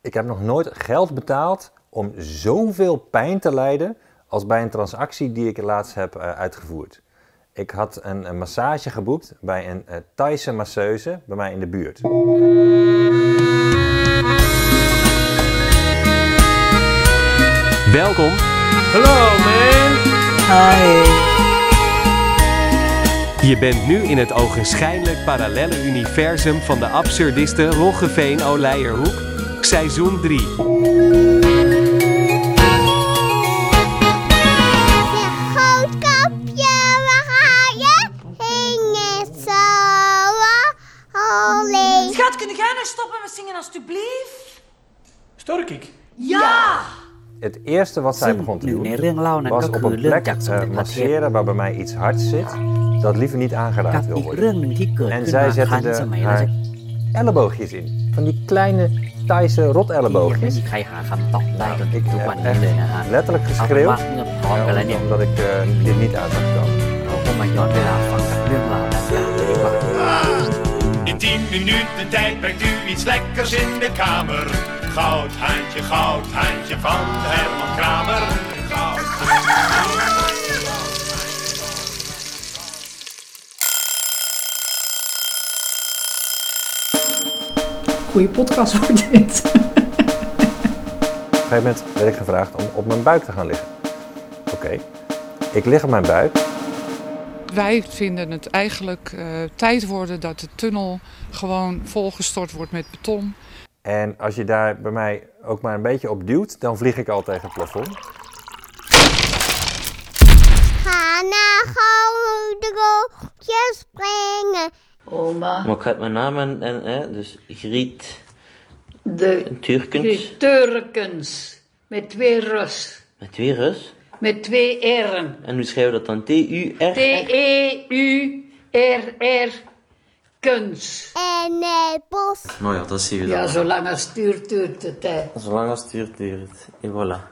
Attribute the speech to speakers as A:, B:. A: Ik heb nog nooit geld betaald om zoveel pijn te lijden als bij een transactie die ik laatst heb eh, uitgevoerd. Ik had een, een massage geboekt bij een eh Thaise masseuse bij mij in de buurt.
B: Welkom
C: Hello man!
B: Je bent nu in het ogenschijnlijk parallele universum van de absurdiste Roggeveen Oleierhoek, seizoen 3.
D: Je grootkapje, waar ga je heen? Is zo alleen.
E: Schat, kun Dus jij nog stoppen met zingen alstublieft?
C: Stork ik?
E: Ja!
A: Het eerste wat zij begon te
F: nu
A: doen
F: een ringlaun en
A: was op een
F: kakkelulen,
A: plek
F: dat ze
A: eh,
F: met elkaar
A: masseren waar bij mij iets hards zit dat liever niet aangeraakt
F: กับอี
A: wil
F: กเรื่อง
A: worden.
F: หนึ่งที่เกิด
A: En
F: ขึ้นมา
A: zij
F: ครั้
A: zette
F: งส
A: de,
F: มัยราช
A: haar elleboogjes in. Van die kleine Thaise
F: ยังไม่
A: rotelleboogjes.
F: มีใครหาคำตอบได้จน
A: Nou,
F: ถึ
A: ik
F: งทุก
A: heb
F: วันนี้เลยนะฮะ
A: echt letterlijk
F: เอาเป็น
A: geschreeuwd
F: ว่าเมื่อพร้อมกันแล้วเนี่ย
A: eh, omdat ik eh, dit niet uit zag komen.
F: เราก็มาย้อนเวลาฟังกับเรื่องราวดังกล่าวกันดีกว่า
G: In 10 minuten tijd brengt u iets lekkers in de kamer. Goudhaantje, goudhaantje van Herman Kramer. Goudhaantje.
H: Goeie podcast wordt dit.
A: Op een gegeven moment werd ik gevraagd om op mijn buik te gaan liggen. Oké, ik lig op mijn buik.
I: Wij vinden het eigenlijk eh, tijd worden dat de tunnel gewoon volgestort wordt met beton.
A: En als je daar bij mij ook maar een beetje op duwt, dan vlieg ik al tegen het plafond.
D: Ga naar grote rookje springen.
E: Oma,
J: Maar ik had mijn naam en, en hè, dus Griet
E: de
J: Turkens
E: Turkens. Met twee rus.
J: met twee Rus.
E: Met twee R'en.
J: En hoe schrijven we dat dan? T-U-R?
E: T-E-U-R-R. Kens.
D: En het bos
J: Nou ja, dat zien we
E: Ja,
J: dan.
E: zolang als stuurt, duurt het, hè.
J: Zolang als het duurt, duurt het. En voilà.